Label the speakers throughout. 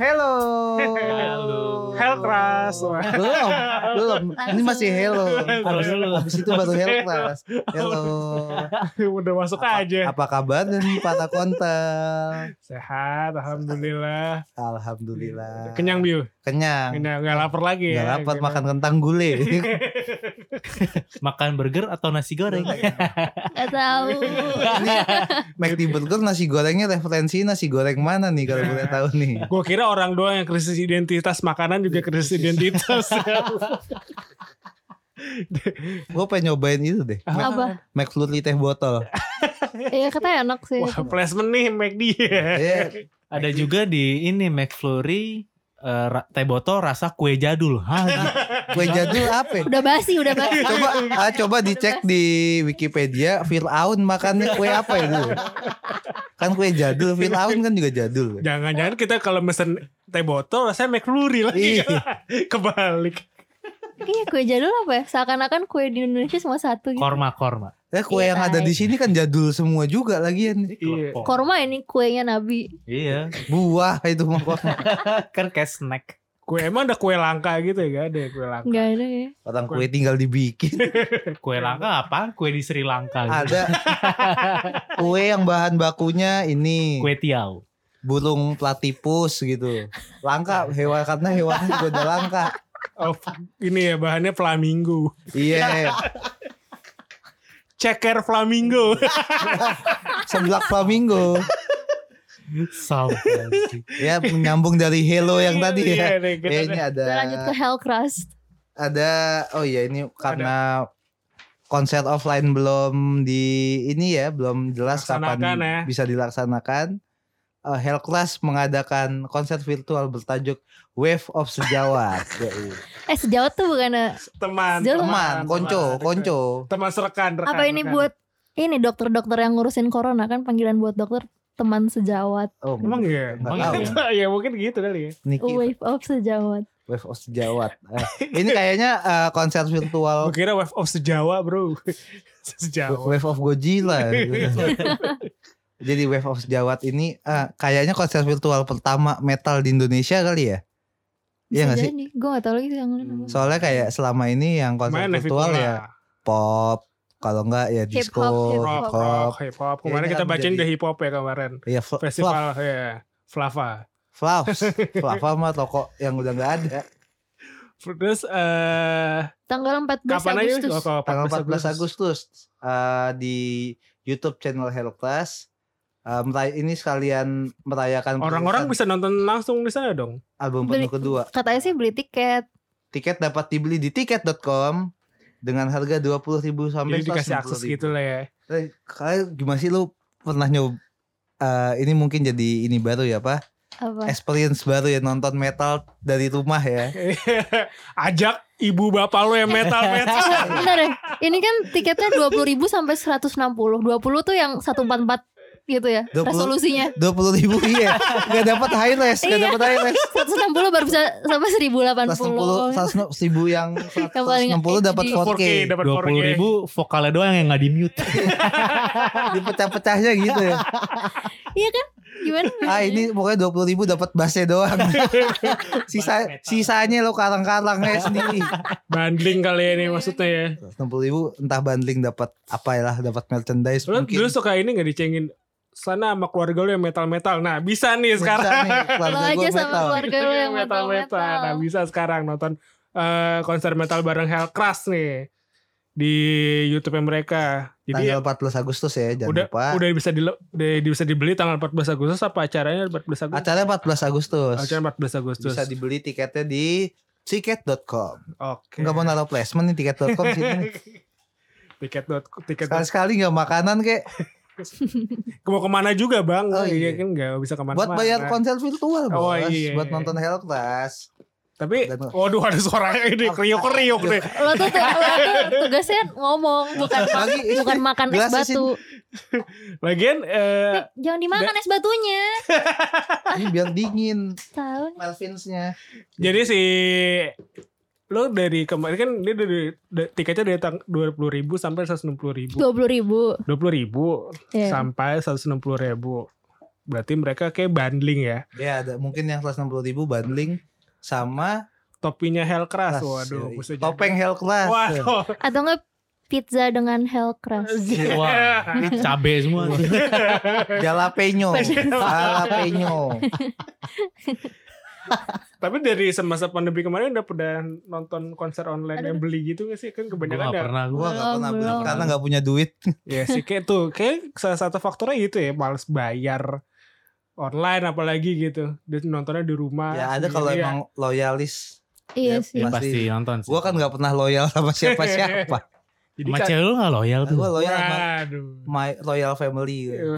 Speaker 1: Hello.
Speaker 2: Halo.
Speaker 1: Health Trust. Belum, belum. Ini masih hello.
Speaker 2: Harus dulu.
Speaker 1: Habis itu baru Health Trust. Hello.
Speaker 2: Udah masuk aja.
Speaker 1: Apa kabar nih Pak Kontel?
Speaker 2: Sehat, alhamdulillah.
Speaker 1: Alhamdulillah.
Speaker 2: Kenyang Biu.
Speaker 1: Kenyang. Iya,
Speaker 2: Nggak, nggak lapar lagi
Speaker 1: Gak
Speaker 2: ya.
Speaker 1: dapat
Speaker 2: Gitu.
Speaker 1: makan kentang gulai.
Speaker 3: makan burger atau nasi goreng
Speaker 4: Gak tahu.
Speaker 1: Ini McD Burger nasi gorengnya referensi nasi goreng mana nih kalau boleh tahu nih.
Speaker 2: Gue kira orang doang yang krisis identitas makanan juga krisis identitas.
Speaker 1: Gue pengen nyobain itu deh.
Speaker 4: Apa?
Speaker 1: McFlurry teh botol.
Speaker 4: Iya katanya enak sih.
Speaker 2: Wah, placement nih McD.
Speaker 1: Iya.
Speaker 3: ada juga di ini McFlurry eh, ra- teh botol rasa kue jadul Hah, gitu.
Speaker 1: Kue jadul apa? ya?
Speaker 4: Udah basi, udah basi.
Speaker 1: Coba ah, coba dicek di Wikipedia Fir'aun makannya kue apa itu? Kan kue jadul, Fir'aun kan juga jadul.
Speaker 2: Jangan-jangan kita kalau mesen teh botol rasanya McFlurry lagi.
Speaker 1: Iya.
Speaker 2: Kebalik.
Speaker 4: Iya kue jadul apa ya? Seakan-akan kue di Indonesia semua satu gitu.
Speaker 3: korma korma
Speaker 1: Ya kue yang ada di sini kan jadul semua juga lagian.
Speaker 2: Iya.
Speaker 3: Klepon.
Speaker 4: Korma ini kuenya Nabi.
Speaker 3: iya
Speaker 1: Buah itu mah korma.
Speaker 3: kan kayak snack
Speaker 2: Kue emang ada kue langka gitu ya? Gak ada ya kue langka.
Speaker 4: Gak ada ya.
Speaker 1: Orang kue tinggal dibikin.
Speaker 3: kue langka apa kue di Sri
Speaker 2: Iya.
Speaker 3: Lanka gitu.
Speaker 1: Ada kue yang bahan bakunya ini
Speaker 3: kue tiaw
Speaker 1: burung platipus gitu. Langka hewan karena hewannya juga udah langka.
Speaker 2: Oh, ini ya bahannya flamingo.
Speaker 1: Iya,
Speaker 2: Ceker flamingo.
Speaker 1: seblak flamingo.
Speaker 3: Sampai.
Speaker 1: Ya menyambung dari hello yang tadi ya.
Speaker 2: Iya, nih, kita
Speaker 1: Ya ini ada
Speaker 4: Kita lanjut ke Hellcrust.
Speaker 1: ada oh ya ini karena konser offline belum di ini ya belum jelas
Speaker 2: Laksanakan
Speaker 1: kapan
Speaker 2: ya.
Speaker 1: bisa dilaksanakan. Eh, Hell Class mengadakan konser virtual bertajuk Wave of Sejawat. Yoi.
Speaker 4: Eh sejauh tuh bukan eh,
Speaker 2: teman,
Speaker 4: Jauh.
Speaker 1: Teman, konco, konco.
Speaker 2: teman serekan, rekan,
Speaker 4: apa ini
Speaker 2: rekan.
Speaker 4: buat ini dokter-dokter yang ngurusin corona kan panggilan buat dokter teman sejawat
Speaker 1: Oh,
Speaker 2: emang ya
Speaker 1: Nggak
Speaker 3: Emang
Speaker 1: tahu.
Speaker 2: ya mungkin gitu kali ya
Speaker 1: Niki
Speaker 4: wave of sejawat
Speaker 1: Wave of Sejawat. Eh, ini kayaknya eh, konser virtual
Speaker 2: gue kira wave of sejawa bro sejawa
Speaker 1: Wave of Godzilla. gitu kan. Jadi Wave of Sejawat ini eh, kayaknya konser virtual pertama metal di Indonesia kali ya. Iya nggak sih?
Speaker 4: gue gak tau lagi sih yang
Speaker 3: Hmm.
Speaker 1: Soalnya kayak selama ini yang konser
Speaker 2: Main
Speaker 1: virtual
Speaker 2: Navicula.
Speaker 1: ya pop, kalau enggak ya
Speaker 4: Hip
Speaker 1: disco,
Speaker 4: hop, hip
Speaker 1: hip
Speaker 2: rock,
Speaker 1: hop,
Speaker 2: rock, hip hop
Speaker 1: Ya,
Speaker 2: Oh, kemarin
Speaker 1: ini
Speaker 2: kita
Speaker 1: akan
Speaker 2: bacain
Speaker 1: menjadi
Speaker 2: the hip hop ya kemarin
Speaker 1: ya fl- fluff,
Speaker 2: festival ya Flava
Speaker 1: fluffs, flava mah toko yang udah enggak ada.
Speaker 2: terus eh
Speaker 4: tanggal 14
Speaker 2: kapan aja
Speaker 4: Agustus
Speaker 2: Oh, kalau
Speaker 1: Tanggal 14 Agustus eh, di YouTube channel Hello Class. Eh, meray- ini sekalian merayakan
Speaker 2: orang-orang
Speaker 1: perilisan
Speaker 2: bisa nonton langsung di sana dong
Speaker 1: album
Speaker 4: Beli-
Speaker 1: penuh kedua.
Speaker 4: katanya sih beli tiket
Speaker 1: Tiket dapat dibeli di tiket.com dengan harga 20.000 sampai
Speaker 2: jadi dikasih akses
Speaker 1: 190.000.
Speaker 2: gitu lah ya
Speaker 1: Eh, Kalian gimana sih lu pernah nyoba eh, ini mungkin jadi ini baru ya, Pak?
Speaker 4: apa
Speaker 1: experience baru ya nonton metal dari rumah ya.
Speaker 2: ajak ibu bapak lo yang metal metal
Speaker 4: Bentar deh ini kan tiketnya 20.000 sampai 160 20 tuh yang 144 gitu ya
Speaker 1: 20.
Speaker 4: resolusinya
Speaker 1: Dua puluh ribu iya, nggak dapat high res, nggak
Speaker 4: Iya.
Speaker 1: dapat high res.
Speaker 4: 160 baru bisa sampai 1080
Speaker 1: Seratus enam puluh, seratus enam- seribu yang
Speaker 4: Yang paling
Speaker 1: seratus enam puluh dapat 4K,
Speaker 2: 4K dapat
Speaker 3: 20 ribu vokalnya doang yang nggak di mute
Speaker 1: dipecah-pecahnya gitu ya.
Speaker 4: Iya kan? gimana
Speaker 1: Ah ini pokoknya dua puluh ribu dapat bassnya doang. Sisa sisanya lo karang-karangnya sendiri.
Speaker 2: bandling kali ya ini maksudnya ya
Speaker 1: Enam puluh ribu entah bundling dapat apa ya dapat merchandise
Speaker 2: Lu
Speaker 1: mungkin.
Speaker 2: dulu suka ini gak dicengin sana sama keluarga lu yang metal-metal. Nah, bisa nih
Speaker 1: Bisa
Speaker 2: sekarang.
Speaker 1: nih,
Speaker 4: lo
Speaker 1: keluarga
Speaker 4: aja
Speaker 1: gua
Speaker 4: sama
Speaker 1: metal.
Speaker 4: keluarga lo yang metal-metal
Speaker 2: Nah, bisa sekarang nonton eh, konser metal bareng Hellcrush nih di YouTube mereka. Jadi
Speaker 1: Tanggal 14 Agustus ya, jangan
Speaker 2: udah
Speaker 1: lupa.
Speaker 2: udah bisa di, bisa dibeli tanggal 14 Agustus apa acaranya 14 Agustus?
Speaker 1: Acaranya 14 Agustus.
Speaker 2: Acara 14 Agustus.
Speaker 1: Bisa dibeli tiketnya di tiket.com.
Speaker 2: Oke.
Speaker 1: Enggak mau naruh placement nih tiket.com sini.
Speaker 2: tiket dot tiket dot-
Speaker 1: Sekali-sekali enggak makanan kek.
Speaker 2: mau kemana juga bang?
Speaker 1: Oh, iya.
Speaker 2: kan nggak bisa kemana.
Speaker 1: Buat bayar konser virtual, Bos.
Speaker 2: Oh, iya.
Speaker 1: Buat nonton Hell Class.
Speaker 4: Eh,
Speaker 2: Tapi,
Speaker 1: Dan-
Speaker 2: waduh ada suaranya
Speaker 1: Oh.
Speaker 2: ini kriuk kriuk deh.
Speaker 4: lo tuh, lo tuh tugasnya ngomong bukan
Speaker 1: Lagi ini
Speaker 4: bukan makan es
Speaker 1: gelasnya
Speaker 4: batu
Speaker 2: Lagian eh,
Speaker 4: Eh, jangan dimakan es batunya
Speaker 1: ini biar dingin
Speaker 4: tahu nih.
Speaker 1: Melvinsnya.
Speaker 2: Jadi si lo dari kemarin kan dia dari da- tiketnya dari dua puluh ribu sampai seratus enam puluh ribu
Speaker 4: dua puluh ribu.
Speaker 2: dua puluh ribu
Speaker 4: Ya.
Speaker 2: sampai seratus enam puluh ribu berarti mereka kayak bundling ya
Speaker 1: Ya ada mungkin yang 160 ribu bundling sama
Speaker 2: topinya hell crush
Speaker 1: tas,
Speaker 2: waduh
Speaker 1: yoi.
Speaker 2: bisa jadi.
Speaker 1: iya. topeng hell class.
Speaker 2: waduh
Speaker 4: Atau enggak pizza dengan hell crust.
Speaker 3: Wah, cabe semua.
Speaker 1: Jalapeno, jalapeno.
Speaker 2: tapi dari semasa pandemi kemarin udah pernah nonton konser online yang beli gitu gak sih kan
Speaker 3: Gue
Speaker 2: kebanyakan
Speaker 3: gak
Speaker 2: ada
Speaker 3: pernah gue.
Speaker 1: Gua nggak
Speaker 4: Belum,
Speaker 1: pernah beli
Speaker 4: belum.
Speaker 1: karena nggak punya duit.
Speaker 2: Ya sih kayak tuh kayak salah satu faktornya gitu ya males bayar online apalagi gitu. Dia nontonnya di rumah.
Speaker 1: ya ada kalau
Speaker 2: sendiri ya.
Speaker 1: emang loyalis.
Speaker 4: Iya
Speaker 1: Ya,
Speaker 4: sih.
Speaker 3: Ya, pasti nonton sih.
Speaker 1: Gua kan nggak pernah loyal sama siapa-siapa.
Speaker 2: jadi
Speaker 3: Sama
Speaker 2: kan-
Speaker 3: cewek lu gak loyal tuh.
Speaker 1: Gua loyal sama
Speaker 2: Waduh.
Speaker 1: my royal family. gitu.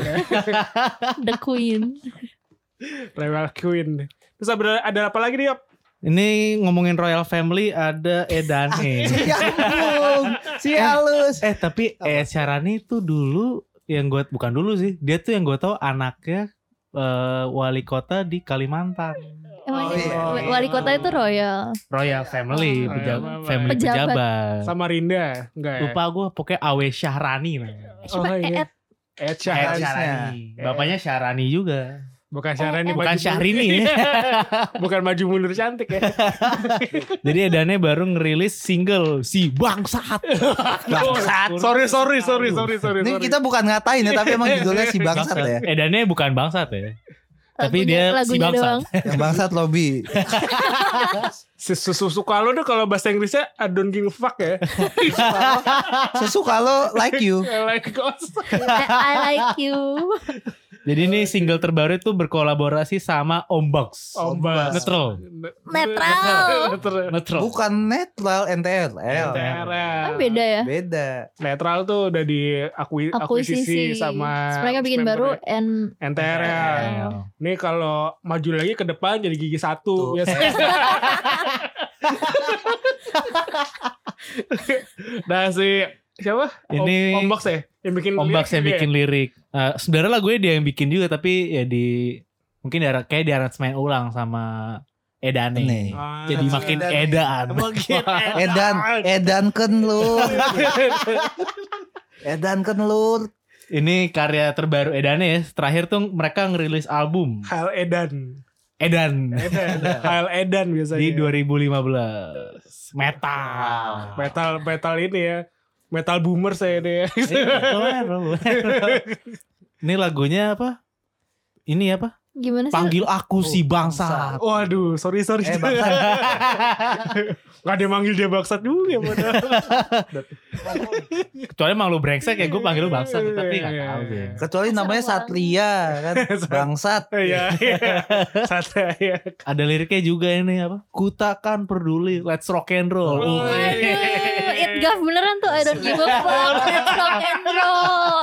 Speaker 4: The Queen.
Speaker 2: Rebel Queen. Terus ada, ada apa lagi nih, Yop?
Speaker 3: Ini ngomongin Royal Family ada Edane.
Speaker 1: Si Ambung, Ya si Alus.
Speaker 3: Ya eh tapi
Speaker 1: Apa?
Speaker 3: Ed Syarani tuh dulu yang gue bukan dulu sih. Dia tuh yang gue tahu anaknya eh, wali kota di Kalimantan.
Speaker 1: Oh,
Speaker 4: Emang
Speaker 1: iya.
Speaker 4: wa- wali kota itu royal.
Speaker 3: Royal Family,
Speaker 2: Oh,
Speaker 3: peja-
Speaker 2: iya.
Speaker 3: family
Speaker 4: Pejabat.
Speaker 3: pejabat.
Speaker 2: Sama Rinda? Enggak ya?
Speaker 3: Lupa gue pokoknya Awe Syahrani namanya.
Speaker 4: Eh, Siapa?
Speaker 2: Oh, iya.
Speaker 4: Eet.
Speaker 2: Ed
Speaker 3: Ed
Speaker 2: Sheeran.
Speaker 3: Syahrani. Bapaknya Syahrani juga.
Speaker 2: Bukan Syaran nih.
Speaker 3: Bukan
Speaker 2: maju-
Speaker 3: Syahrini.
Speaker 2: Bukan maju mundur cantik ya.
Speaker 3: Jadi Edane baru ngerilis single si Bangsat. Bangsat.
Speaker 2: sorry, sorry, sorry, sorry, sorry.
Speaker 1: Ini
Speaker 2: sorry.
Speaker 1: kita bukan ngatain ya, tapi emang judulnya si bangsat ya.
Speaker 3: Edane Eh, bukan Bangsat ya. Tapi
Speaker 4: Lagunya-
Speaker 3: dia si
Speaker 4: lagunya
Speaker 3: bangsa.
Speaker 4: doang.
Speaker 1: Yang bangsat lobby.
Speaker 2: Sesusu suka lo deh kalau bahasa Inggrisnya I don't give a fuck ya.
Speaker 1: Sesuka lo like you.
Speaker 2: like ghost.
Speaker 4: I, Eh, I like you.
Speaker 3: Jadi ini single terbaru itu berkolaborasi sama Ombox.
Speaker 2: Ombak.
Speaker 3: Netral.
Speaker 4: Netral.
Speaker 2: Netral.
Speaker 3: Netral.
Speaker 1: Bukan netral NTRL.
Speaker 3: Iya.
Speaker 2: Netral.
Speaker 4: Kan beda ya.
Speaker 1: Beda.
Speaker 2: Netral tuh udah diakui akuisisi sama ya.
Speaker 4: Terus mereka bikin baru and
Speaker 2: NTRL. ya.
Speaker 3: Iya.
Speaker 2: Nih kalau maju lagi ke depan jadi gigi satu
Speaker 1: Tuh.
Speaker 2: ya biasanya. nah si siapa? Om-
Speaker 3: Ini-
Speaker 2: Ombox ya yang bikin ya?
Speaker 3: Ombox
Speaker 2: lirik
Speaker 3: yang
Speaker 2: dia.
Speaker 3: bikin lirik. Eh, sebenarnya lagunya dia yang bikin juga tapi ya di mungkin di, kayak di aransemen ulang sama Edane.
Speaker 1: Nih.
Speaker 2: Ah,
Speaker 3: Jadi makin
Speaker 1: Edane.
Speaker 3: edaan.
Speaker 2: makin
Speaker 1: Edan, edankan lu. Edankan lu.
Speaker 3: Ini karya terbaru Edane ya. Terakhir tuh mereka ngerilis album
Speaker 2: Hal Edan.
Speaker 3: Edan
Speaker 2: Edan. Hal Edan biasanya.
Speaker 3: di 2015. Metal.
Speaker 2: metal metal ini ya. Metal ya boomer saya deh.
Speaker 3: Ini lagunya apa? Ini apa?
Speaker 4: gimana sih?
Speaker 3: Panggil aku si bangsa.
Speaker 2: Waduh, sorry sorry.
Speaker 1: Eh bangsat.
Speaker 2: Gak ada yang manggil dia bangsat juga ya. padahal.
Speaker 3: Kecuali emang lu brengsek ya gue panggil lu bangsa tapi gak
Speaker 2: Iya,
Speaker 3: tahu sih.
Speaker 2: iya,
Speaker 1: Kecuali namanya
Speaker 4: Serem
Speaker 1: Satria kan. Bangsat.
Speaker 2: Iya, iya. Santai ya.
Speaker 3: Ada liriknya juga ini apa? Kutakan peduli, let's rock and
Speaker 2: Oh,
Speaker 3: roll. Uh.
Speaker 2: iya.
Speaker 4: Aduh, it gov beneran tuh I don't give a fuck Let's rock and roll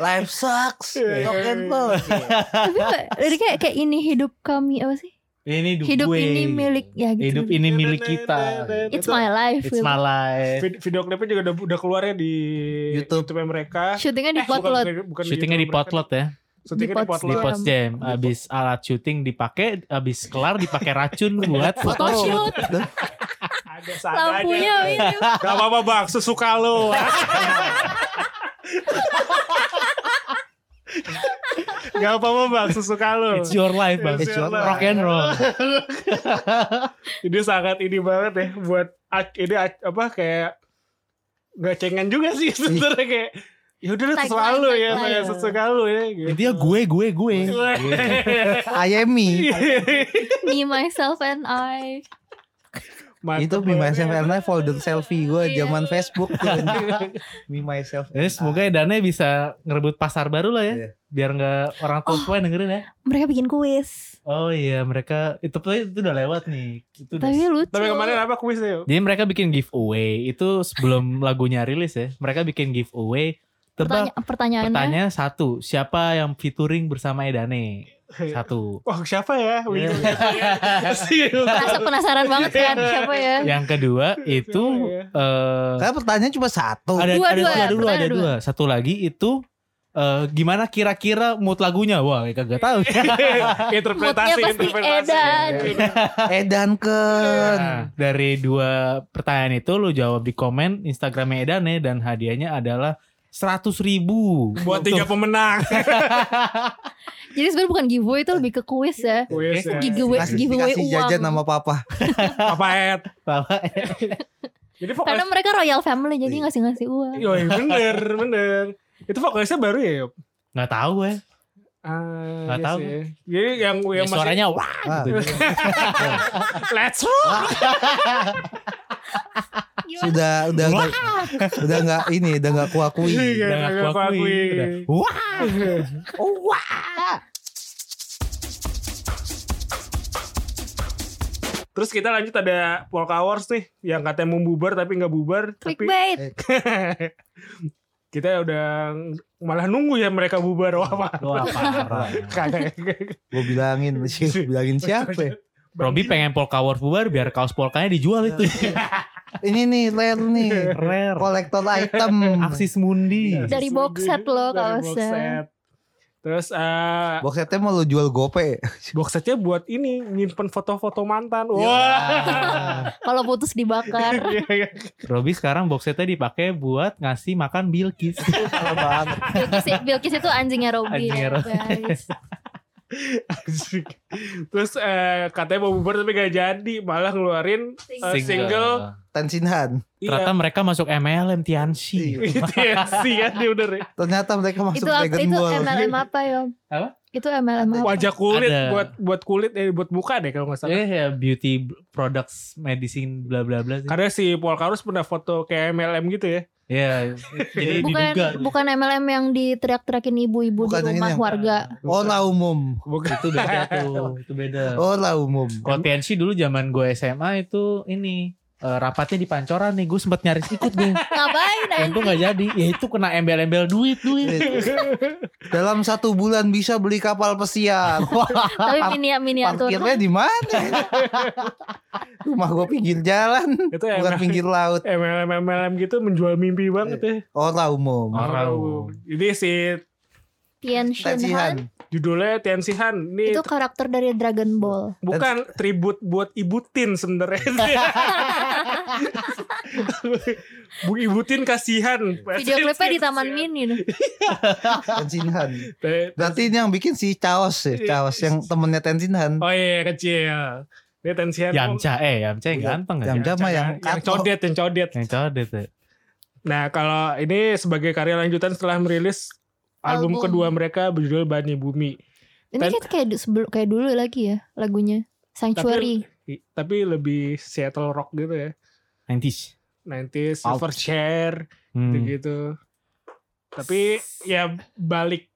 Speaker 1: Life sucks.
Speaker 2: Iya.
Speaker 1: Rock and roll.
Speaker 4: Tapi kok liriknya kayak ini hidup kami Apa sih?
Speaker 3: Ini hidup,
Speaker 4: Hidup
Speaker 3: gue.
Speaker 4: ini milik Ya gitu
Speaker 3: Hidup ini milik kita.
Speaker 4: It's my life
Speaker 3: It's my life.
Speaker 2: Vid- video klipnya juga udah, udah keluar ya di
Speaker 1: YouTube.
Speaker 2: mereka.
Speaker 4: Shootingnya di
Speaker 2: Eh, bukan-
Speaker 4: potlot
Speaker 2: bukan- bukan
Speaker 3: Syutingnya di
Speaker 2: YouTube mereka.
Speaker 3: potlot ya,
Speaker 2: Syutingnya
Speaker 4: Di
Speaker 2: di
Speaker 3: di
Speaker 4: Potlot.
Speaker 2: potlot.
Speaker 4: Potlot.
Speaker 3: post jam. Abis alat syuting dipakai, abis kelar dipakai racun buat foto.
Speaker 4: Photoshoot
Speaker 2: Ada
Speaker 4: Lampunya
Speaker 2: seadanya.
Speaker 4: ini
Speaker 2: Gak apa-apa bang, sesuka lo. Gak apa-apa bang, sesuka Iya, lo.
Speaker 3: oh, It's your life bang.
Speaker 1: It's your
Speaker 3: Rock and roll.
Speaker 2: Ini sangat ini banget ya buat ac- ini ac- apa kayak nggak cengen juga sih sebenarnya kayak ya udah
Speaker 4: Tagline,
Speaker 2: sesuka lo ya,
Speaker 4: tagline.
Speaker 2: saya sesuka lo ya. Gitu. Iya.
Speaker 3: Intinya gue, gue, gue.
Speaker 1: Ayemi.
Speaker 4: Me, myself and I
Speaker 2: Iya. Mantep
Speaker 1: Itu Me
Speaker 2: banget.
Speaker 1: Myself and I folder selfie gue
Speaker 4: Iya.
Speaker 1: zaman Facebook tuh. Me Myself.
Speaker 3: Ini Eh, semoga Edane bisa ngerebut pasar baru lah ya.
Speaker 1: Iya.
Speaker 3: Biar nggak orang tua tua yang dengerin ya.
Speaker 4: Mereka bikin kuis
Speaker 3: Oh iya mereka itu itu udah lewat nih. Itu udah-
Speaker 4: Tapi lucu
Speaker 2: Tapi kemarin apa kuisnya?
Speaker 3: Jadi mereka bikin giveaway itu sebelum lagunya rilis ya. Mereka bikin giveaway tebak
Speaker 4: Pertanya- Pertanyaannya
Speaker 3: pertanyaan satu siapa yang featuring bersama Edane satu.
Speaker 2: Wah siapa ya?
Speaker 3: Iya.
Speaker 2: iya.
Speaker 4: Rasa penasaran banget kan Siapa ya
Speaker 3: Yang kedua itu eh
Speaker 1: Karena pertanyaan cuma satu.
Speaker 3: ada
Speaker 4: Dua,
Speaker 3: ada
Speaker 4: dua,
Speaker 3: dua, dulu ada
Speaker 4: Kan ya, pertanyaan
Speaker 3: dua. Satu lagi itu eh, gimana kira-kira mood lagunya? Wah, ya kagak tahu.
Speaker 4: Moodnya
Speaker 2: interpretasi
Speaker 4: pasti
Speaker 2: interpretasi
Speaker 4: edan
Speaker 2: Iya.
Speaker 4: gitu.
Speaker 1: Edan ke
Speaker 3: Nah, dari dua pertanyaan itu lu jawab di komen Instagramnya Edane dan hadiahnya adalah seratus ribu
Speaker 2: buat tiga pemenang
Speaker 4: Jadi sebenarnya bukan giveaway itu lebih ke kuis ya.
Speaker 2: Wes, ya.
Speaker 4: Giveaway,
Speaker 1: kasih
Speaker 4: giveaway
Speaker 1: dikasih jajan
Speaker 4: uang.
Speaker 1: sama papa.
Speaker 2: apa Ed jadi
Speaker 4: Karena
Speaker 2: vokalis
Speaker 4: mereka royal family jadi ngasih-ngasih uang.
Speaker 2: Yoi, bener bener itu vokalisnya baru ya Yop?
Speaker 3: nggak tahu ya.
Speaker 2: Ah,
Speaker 3: Nggak
Speaker 2: iya
Speaker 3: tahu.
Speaker 2: sih. jadi yang
Speaker 3: ya
Speaker 2: yang masih
Speaker 3: suaranya wah
Speaker 1: Ah.
Speaker 3: gitu.
Speaker 2: let's rock
Speaker 4: Iya.
Speaker 1: Sudah udah
Speaker 3: Wah.
Speaker 1: nggak- udah nggak ini, udah nggak kuakui.
Speaker 2: Iya.
Speaker 3: Udah aku
Speaker 2: aku
Speaker 3: akui.
Speaker 2: akui.
Speaker 3: Udah, Wah.
Speaker 1: Oh, wah.
Speaker 2: terus kita lanjut ada Polka Wars nih yang katanya mau bubar tapi nggak bubar tapi
Speaker 4: Clickbait.
Speaker 2: kita udah malah nunggu ya mereka bubar apa
Speaker 3: Wah, parah.
Speaker 2: Kagak.
Speaker 1: Gue bilangin, gue bilangin siapa? ya?
Speaker 3: Robby pengen polka war bubar biar kaos polkanya dijual itu.
Speaker 1: Ini nih rare nih,
Speaker 3: Rare.
Speaker 1: kolektor item.
Speaker 3: Aksis Mundi.
Speaker 2: Iya,
Speaker 4: Dari
Speaker 2: sesuai
Speaker 4: box set
Speaker 2: dulu,
Speaker 4: loh,
Speaker 2: dari
Speaker 4: kalau
Speaker 2: box
Speaker 4: saya.
Speaker 2: set. Terus eh
Speaker 1: Box setnya mau lu jual gope.
Speaker 2: box setnya buat ini nyimpen foto-foto
Speaker 3: Ya.
Speaker 2: mantan. Wah.
Speaker 3: Wah.
Speaker 4: Kalau putus dibakar.
Speaker 2: Iya, iya.
Speaker 3: Robby Iya. sekarang box setnya dipakai buat ngasih makan Bilkis.
Speaker 1: Parah banget.
Speaker 4: Bilkis, Bilkis itu anjingnya Robby.
Speaker 3: Anjingnya Robby.
Speaker 4: guys.
Speaker 2: Asik. Terus eh katanya mau bubar tapi gak jadi, malah ngeluarin iya. eh,
Speaker 4: Single.
Speaker 2: single.
Speaker 1: Tensinhan.
Speaker 3: Ternyata mereka masuk MLM Tianxi.
Speaker 2: Iya. TNC kan dia bener ya.
Speaker 1: Ternyata mereka masuk
Speaker 4: itu apa,
Speaker 1: Dragon
Speaker 4: itu
Speaker 1: Ball.
Speaker 4: MLM apa ya?
Speaker 3: Apa?
Speaker 4: Itu MLM apa?
Speaker 2: Wajah kulit
Speaker 3: Ada.
Speaker 2: buat buat kulit eh buat muka deh kalau nggak salah.
Speaker 3: Eh ya beauty products medicine bla bla bla sih.
Speaker 2: Karena si Polkarus pernah foto kayak MLM gitu ya.
Speaker 3: Iya, jadi
Speaker 4: Bukan
Speaker 3: diduga.
Speaker 4: bukan MLM yang diteriak-teriakin ibu-ibu di
Speaker 1: Bukan yang
Speaker 4: rumah
Speaker 1: ini yang-
Speaker 4: warga.
Speaker 1: Olah Oh, umum.
Speaker 2: Bukan.
Speaker 3: itu beda tuh, itu beda.
Speaker 2: Oh,
Speaker 1: Olah umum.
Speaker 3: Kalau TNC dulu zaman gue SMA itu ini eh, rapatnya di pancoran nih, gue sempet nyaris ikut gue.
Speaker 4: Ngapain? anjing?
Speaker 3: Untung gak jadi. Ya itu kena embel-embel duit
Speaker 2: Iya,
Speaker 3: duit.
Speaker 1: Dalam satu bulan bisa beli kapal pesiar. Wah,
Speaker 4: Tapi mini- miniatur.
Speaker 1: parkirnya di mana? Rumah gue pinggir jalan,
Speaker 2: Itu
Speaker 1: bukan
Speaker 2: MLM,
Speaker 1: pinggir laut.
Speaker 2: MLM MLM gitu menjual mimpi banget ya.
Speaker 1: Olah umum.
Speaker 3: Iya.
Speaker 4: Oh.
Speaker 3: Orang.
Speaker 2: Jadi si
Speaker 4: Tian Shin Han.
Speaker 1: Tensihan.
Speaker 2: judulnya Tianxi Han. Ini
Speaker 4: Itu karakter dari Dragon Ball.
Speaker 2: Bukan tribut buat Ibu Tin sebenarnya. Bu Ibu Tin kasihan.
Speaker 4: Video klipnya di Taman Mini. nih.
Speaker 1: Tensinhan.
Speaker 2: Te-
Speaker 1: Berarti ini yang bikin si Chaos ya, Chaos yang temennya Tensinhan.
Speaker 2: Oh iya kecil. Dia tensihan.
Speaker 3: Yamcha eh Yamcha yang
Speaker 1: Iya.
Speaker 3: ganteng gak sih?
Speaker 1: Yamcha. Jama yang
Speaker 2: yang
Speaker 1: kato.
Speaker 2: codet, yang codet.
Speaker 3: Yang codet tuh.
Speaker 2: Nah, kalau ini sebagai karya lanjutan setelah merilis album,
Speaker 4: Album.
Speaker 2: kedua mereka berjudul Bani Bumi.
Speaker 4: Ini
Speaker 2: Ten-
Speaker 4: kayak kayak du- sebelum kayak dulu lagi ya lagunya. Sanctuary.
Speaker 2: I- Tapi lebih Seattle rock gitu ya.
Speaker 3: 90s.
Speaker 2: 90s, Silver Chair,
Speaker 3: Hmm.
Speaker 2: gitu. Tapi ya balik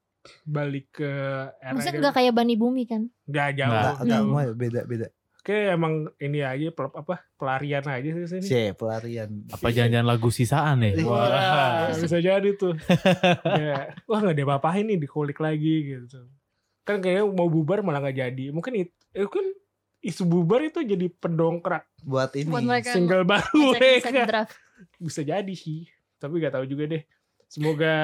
Speaker 2: balik ke era
Speaker 4: Maksudnya
Speaker 2: dia-
Speaker 4: nggak kayak Bani Bumi kan?
Speaker 2: Nggak jauh.
Speaker 3: Nggak,
Speaker 1: Agak
Speaker 2: jauh.
Speaker 1: ya, beda beda.
Speaker 2: Oke, emang ini aja pel- apa pelarian aja sih sini.
Speaker 1: Si pelarian.
Speaker 3: Apa jangan-jangan lagu sisaan ya?
Speaker 1: Iya.
Speaker 2: Wah, bisa jadi tuh. ya. Wah, nggak ada apa ini dikulik lagi gitu. Kan kayaknya mau bubar malah nggak jadi. Mungkin itu eh, kan isu bubar itu jadi pendongkrak
Speaker 1: buat ini?
Speaker 4: Buat mereka yang
Speaker 2: single baru
Speaker 4: second-
Speaker 2: mereka.
Speaker 4: second draft.
Speaker 2: Bisa jadi sih. Tapi nggak tahu juga deh. Semoga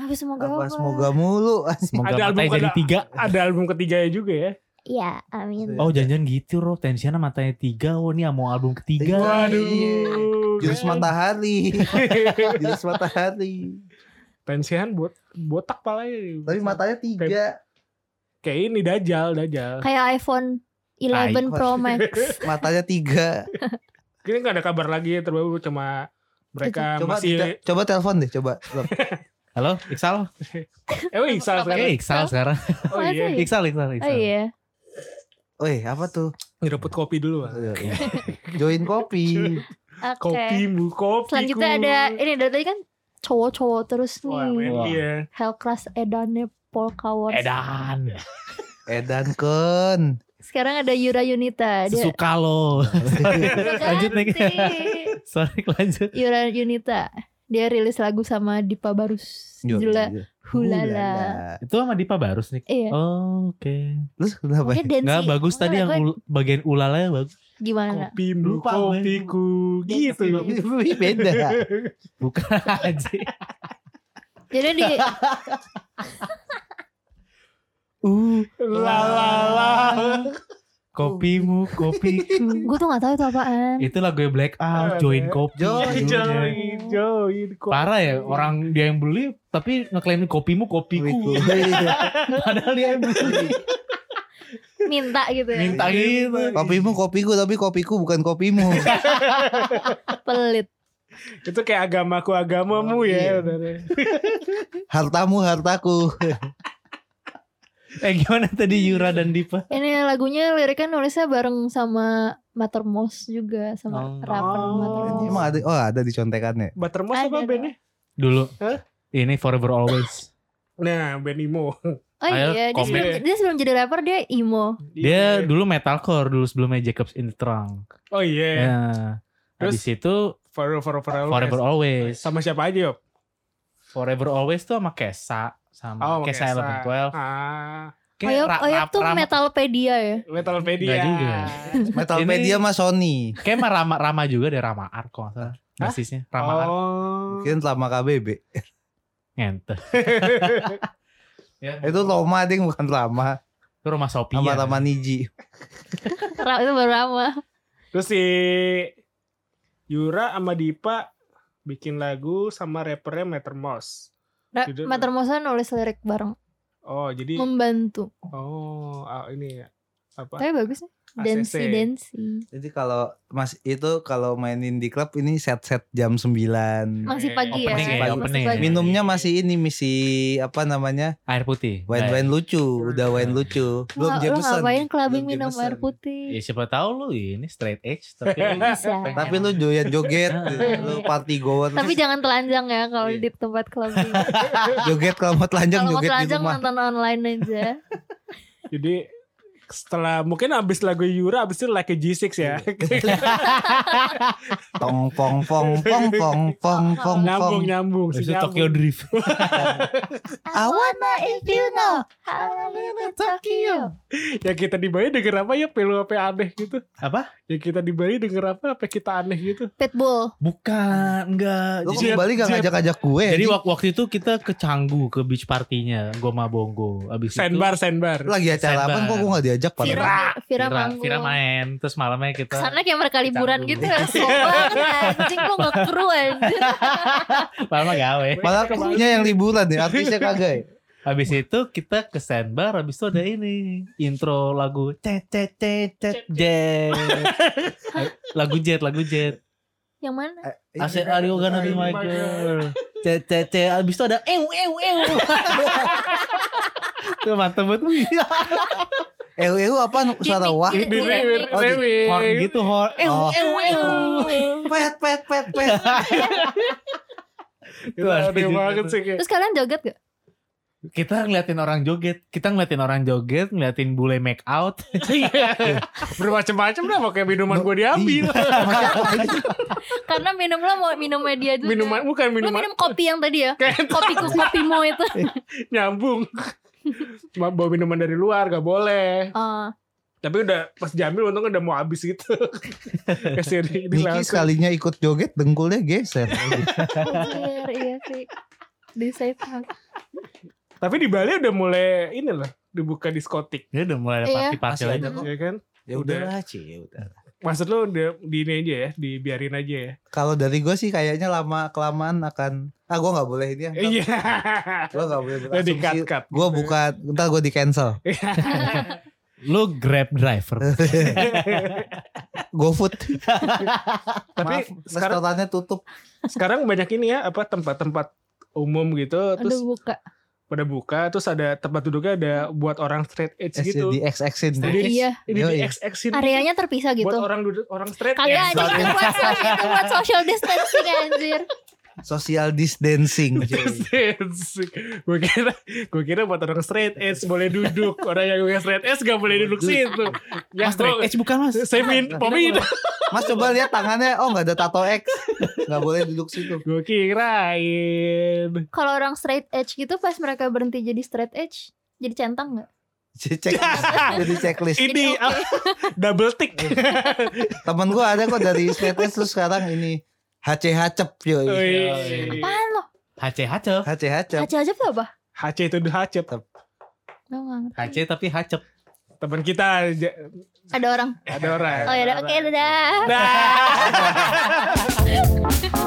Speaker 4: Apa semoga
Speaker 1: Apa
Speaker 4: apa?
Speaker 1: semoga mulu.
Speaker 3: Semoga
Speaker 2: Ada
Speaker 3: matanya
Speaker 2: album
Speaker 3: jadi
Speaker 2: kedua.
Speaker 3: tiga.
Speaker 2: ada album ketiganya juga ya.
Speaker 4: Iya, amin.
Speaker 3: Oh jangan-jangan gitu Rob Tensiana matanya tiga Oh ini mau album ketiga
Speaker 2: Waduh.
Speaker 1: Jurus matahari. Jurus matahari.
Speaker 2: Pensihan buat botak palanya.
Speaker 1: Tapi matanya tiga.
Speaker 2: kayak ini dajal, dajal.
Speaker 4: Kayak iPhone 11
Speaker 1: iPhone.
Speaker 4: Pro Max.
Speaker 1: Matanya tiga.
Speaker 2: Kayaknya nggak ada kabar lagi terbaru cuma mereka
Speaker 1: Coba
Speaker 2: Ah, masih
Speaker 1: te- coba telepon deh coba.
Speaker 3: Halo Iksal
Speaker 2: eh wih, salah
Speaker 3: Eh
Speaker 4: Apa
Speaker 2: sekali.
Speaker 3: Iksal sekarang
Speaker 2: Oh iya,
Speaker 4: Masa ya?
Speaker 3: Iksal Iksal
Speaker 4: Oh
Speaker 3: Iksal
Speaker 4: iya.
Speaker 1: Woi apa tuh?
Speaker 2: nyeruput kopi dulu. Bang.
Speaker 1: Join kopi.
Speaker 4: Oke.
Speaker 2: Kopimu, kopi.
Speaker 4: Selanjutnya ada ini dari tadi kan cowok-cowok terus
Speaker 2: Wah,
Speaker 4: nih.
Speaker 3: Wah.
Speaker 2: iya.
Speaker 4: Hell Class Edane Polka Wars.
Speaker 3: Edan
Speaker 1: Edan Kun.
Speaker 4: Sekarang ada Yura Yunita. Dia
Speaker 3: Sesuka lo Lanjut, Nek.
Speaker 4: Ganti.
Speaker 3: Sorry lanjut
Speaker 4: Yura Yunita. Dia rilis lagu sama Dipa Barus. Judulnya Hulala.
Speaker 3: Itu sama Dipa Barus nih
Speaker 4: Iya.
Speaker 3: Oh, Oke
Speaker 1: Terus kenapa? ya?
Speaker 4: Mungkin dance.
Speaker 3: Nggak bagus tadi yang ul- bagian ulalnya bagus
Speaker 4: gimana?
Speaker 2: Kopimu,
Speaker 3: Lupa gue.
Speaker 2: kopiku. Gitu.
Speaker 1: Beda.
Speaker 3: Bukan aja
Speaker 4: Jadi di
Speaker 3: Uh,
Speaker 2: La la la.
Speaker 3: kopimu, kopiku.
Speaker 4: gue "Hmm, tuh gak tahu itu apaan.
Speaker 3: Itu lagu Blackout, join kopi.
Speaker 1: Join,
Speaker 3: judulnya.
Speaker 2: Join, join, kok.
Speaker 3: Oh, iya. Parah ya, orang dia yang beli tapi ngeklaim kopimu, kopiku. Padahal dia yang beli.
Speaker 4: Minta gitu ya.
Speaker 3: Minta gitu.
Speaker 1: kopimu kopiku tapi kopiku bukan kopimu.
Speaker 4: Pelit.
Speaker 2: Itu kayak agamaku agamamu
Speaker 1: Oh,
Speaker 2: ya.
Speaker 1: iya.
Speaker 2: udah.
Speaker 1: Hartamu hartaku.
Speaker 3: Eh gimana tadi Yura dan Dipa?
Speaker 4: Ini lagunya liriknya nulisnya bareng sama Mattermost
Speaker 3: Oh.
Speaker 4: juga sama rapper
Speaker 2: Oh.
Speaker 4: Mattermost.
Speaker 1: Emang ada oh ada di contekannya.
Speaker 2: Buttermoss apa
Speaker 4: Ada.
Speaker 2: bandnya?
Speaker 3: Dulu.
Speaker 2: Hah?
Speaker 3: Ini Forever Always.
Speaker 2: Nah, band Imo.
Speaker 4: Oh
Speaker 3: Ayo,
Speaker 4: iya, dia
Speaker 3: komen.
Speaker 4: sebelum, dia sebelum jadi rapper dia emo.
Speaker 2: Iya.
Speaker 3: Dia dulu metalcore dulu sebelumnya Jacobs in the Trunk.
Speaker 2: Oh iya.
Speaker 3: Nah,
Speaker 2: Terus?
Speaker 3: habis itu
Speaker 2: Forever forever
Speaker 3: Forever Always.
Speaker 2: Sama siapa aja, Yop?
Speaker 3: Forever Always tuh sama Kesa sama
Speaker 2: Oh, sama
Speaker 3: Kesa
Speaker 2: Kesa.
Speaker 3: Eleven Twelve.
Speaker 2: Ah,
Speaker 4: Oyop, Oyop tuh metalpedia ya.
Speaker 2: Metalpedia.
Speaker 3: Nggak juga.
Speaker 1: Metalpedia mah Sony.
Speaker 3: Kayak sama Rama Rama juga deh Rama Art kok nggak salah.
Speaker 2: Hah?
Speaker 3: Basisnya Rama Art
Speaker 2: Oh.
Speaker 1: Mungkin lama KBB.
Speaker 3: ngente.
Speaker 1: Itu Roma ding bukan lama.
Speaker 3: Ya, Itu rumah Sophia.
Speaker 1: Sama Rama Niji.
Speaker 4: Ra- itu baru lama.
Speaker 2: Terus si Yura sama Dipa bikin lagu sama rappernya Meter Mouse.
Speaker 4: Ra-
Speaker 2: Judul-
Speaker 4: Mattermost nulis lirik bareng
Speaker 2: Oh, jadi
Speaker 4: membantu.
Speaker 2: oh, ah, ini ya. Apa?
Speaker 4: Tapi bagus nih.
Speaker 2: ACC.
Speaker 4: Dancy dancy.
Speaker 1: Jadi kalau Mas itu kalau mainin di klub ini set-set jam 9.
Speaker 4: Masih
Speaker 3: Opening
Speaker 4: pagi ya.
Speaker 1: ya,
Speaker 4: masih
Speaker 3: opening.
Speaker 4: pagi.
Speaker 1: Minumnya masih ini misi apa namanya?
Speaker 3: Air putih. Nah,
Speaker 1: Wine-wine lucu, udah wine lucu.
Speaker 4: Lu,
Speaker 1: Belum
Speaker 4: lu
Speaker 1: Jameson.
Speaker 4: ngapain clubbing
Speaker 1: Belum
Speaker 4: minum
Speaker 1: Jameson.
Speaker 4: air
Speaker 3: Ya
Speaker 4: putih?
Speaker 3: siapa tahu lu ini straight edge tapi
Speaker 4: Bisa.
Speaker 1: Tapi lu joget joget, lu party goer.
Speaker 4: Tapi jangan telanjang ya kalau di tempat clubbing.
Speaker 1: joget kalau mau telanjang
Speaker 4: kalau
Speaker 1: joget
Speaker 4: mau
Speaker 1: di
Speaker 4: telanjang
Speaker 1: rumah.
Speaker 4: nonton online aja.
Speaker 2: Jadi setelah mungkin abis lagu Yura abis itu like a G6 ya.
Speaker 1: Iya. Tong pong pong pong pong pong pong pong.
Speaker 2: nyambung nyambung
Speaker 3: Habis
Speaker 2: si
Speaker 3: itu Tokyo
Speaker 2: nyambung.
Speaker 3: Drift.
Speaker 1: I wanna if you know.
Speaker 4: Tokyo.
Speaker 2: Yang kita di Bali denger apa ya pelu apa aneh gitu.
Speaker 3: Apa?
Speaker 2: Yang kita di Bali denger apa apa kita aneh gitu.
Speaker 4: Pitbull.
Speaker 3: Bukan, enggak.
Speaker 1: Lu
Speaker 3: Jadi-
Speaker 1: kembali gak
Speaker 2: Jeb.
Speaker 1: ngajak-ngajak gue.
Speaker 4: Eh,
Speaker 3: Jadi
Speaker 1: Jadi
Speaker 3: wak- waktu itu kita ke Canggu ke beach partinya, gue sama Bongo. Abis
Speaker 2: Sandbar sandbar.
Speaker 1: lagi acara apa
Speaker 3: Sabar.
Speaker 1: kok gue gak diajak
Speaker 4: Vira.
Speaker 1: padahal.
Speaker 3: itu
Speaker 4: Vira
Speaker 3: Vira,
Speaker 4: manggung.
Speaker 3: Vira main, terus malamnya kita
Speaker 4: Kesana kayak mereka liburan
Speaker 3: Dicanggung.
Speaker 4: gitu ya. Sopan anjing lu ngekru anjir.
Speaker 3: malamnya gawe.
Speaker 1: Malah krunya yang liburan ya, artisnya kagak ya.
Speaker 3: Habis itu kita ke sandbar, habis itu ada ini intro lagu cet cet cet cet jet. lagu jet, lagu jet.
Speaker 4: Yang mana?
Speaker 1: Eh,
Speaker 3: I said are you gonna be my girl? Cet cet cet. Habis itu ada eh, ew ew ew. Tuh mantep banget.
Speaker 1: Ew ew apa suara wah?
Speaker 4: Ini-
Speaker 2: Di rewing,
Speaker 1: Oh, di
Speaker 2: rewing.
Speaker 3: Horn gitu horn.
Speaker 4: Eh,
Speaker 3: Ew
Speaker 1: Oh.
Speaker 3: ew ew.
Speaker 1: Pet pet pet pet.
Speaker 2: Iya. Itu
Speaker 3: Itu
Speaker 2: aneh
Speaker 3: asli juga
Speaker 2: banget
Speaker 3: tuh.
Speaker 2: sih kayak.
Speaker 4: Terus kalian joget gak?
Speaker 3: Kita ngeliatin orang joget, kita ngeliatin orang joget, ngeliatin bule make out.
Speaker 2: Bermacam-macam dah pakai minuman
Speaker 1: Lu-
Speaker 2: gue diambil.
Speaker 4: Karena minum lo mau minum media juga.
Speaker 2: Minuman bukan
Speaker 4: Lu
Speaker 2: minuman
Speaker 4: minum kopi yang tadi ya?
Speaker 2: Kayak
Speaker 4: Kopiku kopimu itu.
Speaker 2: nyambung. Cuma bawa minuman dari luar gak boleh.
Speaker 4: Oh,
Speaker 2: Tapi udah pas diambil untungnya udah mau habis gitu. Kasih di,
Speaker 1: Niki
Speaker 2: di langsung.
Speaker 1: sekalinya ikut joget dengkulnya geser.
Speaker 4: anjir, iya sih. Di save up.
Speaker 2: Tapi di Bali udah mulai ini loh dibuka diskotik.
Speaker 3: Dia udah mulai ada
Speaker 4: Iya.
Speaker 3: party-party
Speaker 1: Masih
Speaker 3: lagi.
Speaker 1: ada kok.
Speaker 2: Ya kan?
Speaker 1: Ya udahlah, Ci, ya udah.
Speaker 2: Maksud lu udah di ini aja ya, dibiarin aja ya.
Speaker 1: Kalau dari gue sih kayaknya lama kelamaan akan ah gue nggak boleh ini ya.
Speaker 2: Iya.
Speaker 1: Gue nggak boleh
Speaker 2: Udah gitu. di cut cut.
Speaker 1: Gue buka ntar gue di cancel.
Speaker 3: Lu grab driver.
Speaker 1: Eh, Go food.
Speaker 2: Tapi
Speaker 1: Maaf,
Speaker 2: sekarang
Speaker 1: restorannya tutup.
Speaker 2: sekarang banyak ini ya apa tempat-tempat umum gitu terus
Speaker 4: Aduh buka.
Speaker 2: pada buka terus ada tempat duduknya ada buat orang straight edge gitu.
Speaker 1: Eh, Di XX-in.
Speaker 2: Jadi
Speaker 4: Iya.
Speaker 2: ini
Speaker 1: Yoi.
Speaker 2: di XX-in
Speaker 4: Areanya terpisah
Speaker 2: buat
Speaker 4: gitu.
Speaker 2: orang duduk orang straight
Speaker 4: Kagak
Speaker 2: edge.
Speaker 4: anjing itu buat, itu buat social distancing anjir.
Speaker 1: Social distancing.
Speaker 2: Iya.
Speaker 1: Ci.
Speaker 2: gue kira gue kira buat orang straight edge boleh duduk orang yang bukan straight edge gak boleh duduk situ ya
Speaker 3: Mas straight
Speaker 2: gue
Speaker 3: edge Nah, bukan mas.
Speaker 2: saya min pemin
Speaker 1: Mas coba lihat tangannya. Oh nggak ada tato X. Nggak boleh duduk situ.
Speaker 2: gue kirain
Speaker 4: Kalau orang straight edge gitu pas mereka berhenti jadi straight edge, jadi centang nggak?
Speaker 1: Ci, Cek, jadi checklist.
Speaker 2: ini ah, double tick
Speaker 1: Temen gue
Speaker 2: Oh, iya.
Speaker 1: ada kok dari status terus sekarang ini HC Hacep yo.
Speaker 2: Wih.
Speaker 4: Apaan loh?
Speaker 3: Hace hacep.
Speaker 1: Hace hace.
Speaker 4: Hace aja tuh apa?
Speaker 2: HC itu udah HC
Speaker 4: Nggak, nggak ngerti.
Speaker 3: Hace tapi hacep.
Speaker 2: teman kita aja-
Speaker 4: Ada orang. ya
Speaker 2: ada orang
Speaker 4: Oh ya, oke dadah.
Speaker 2: Dah.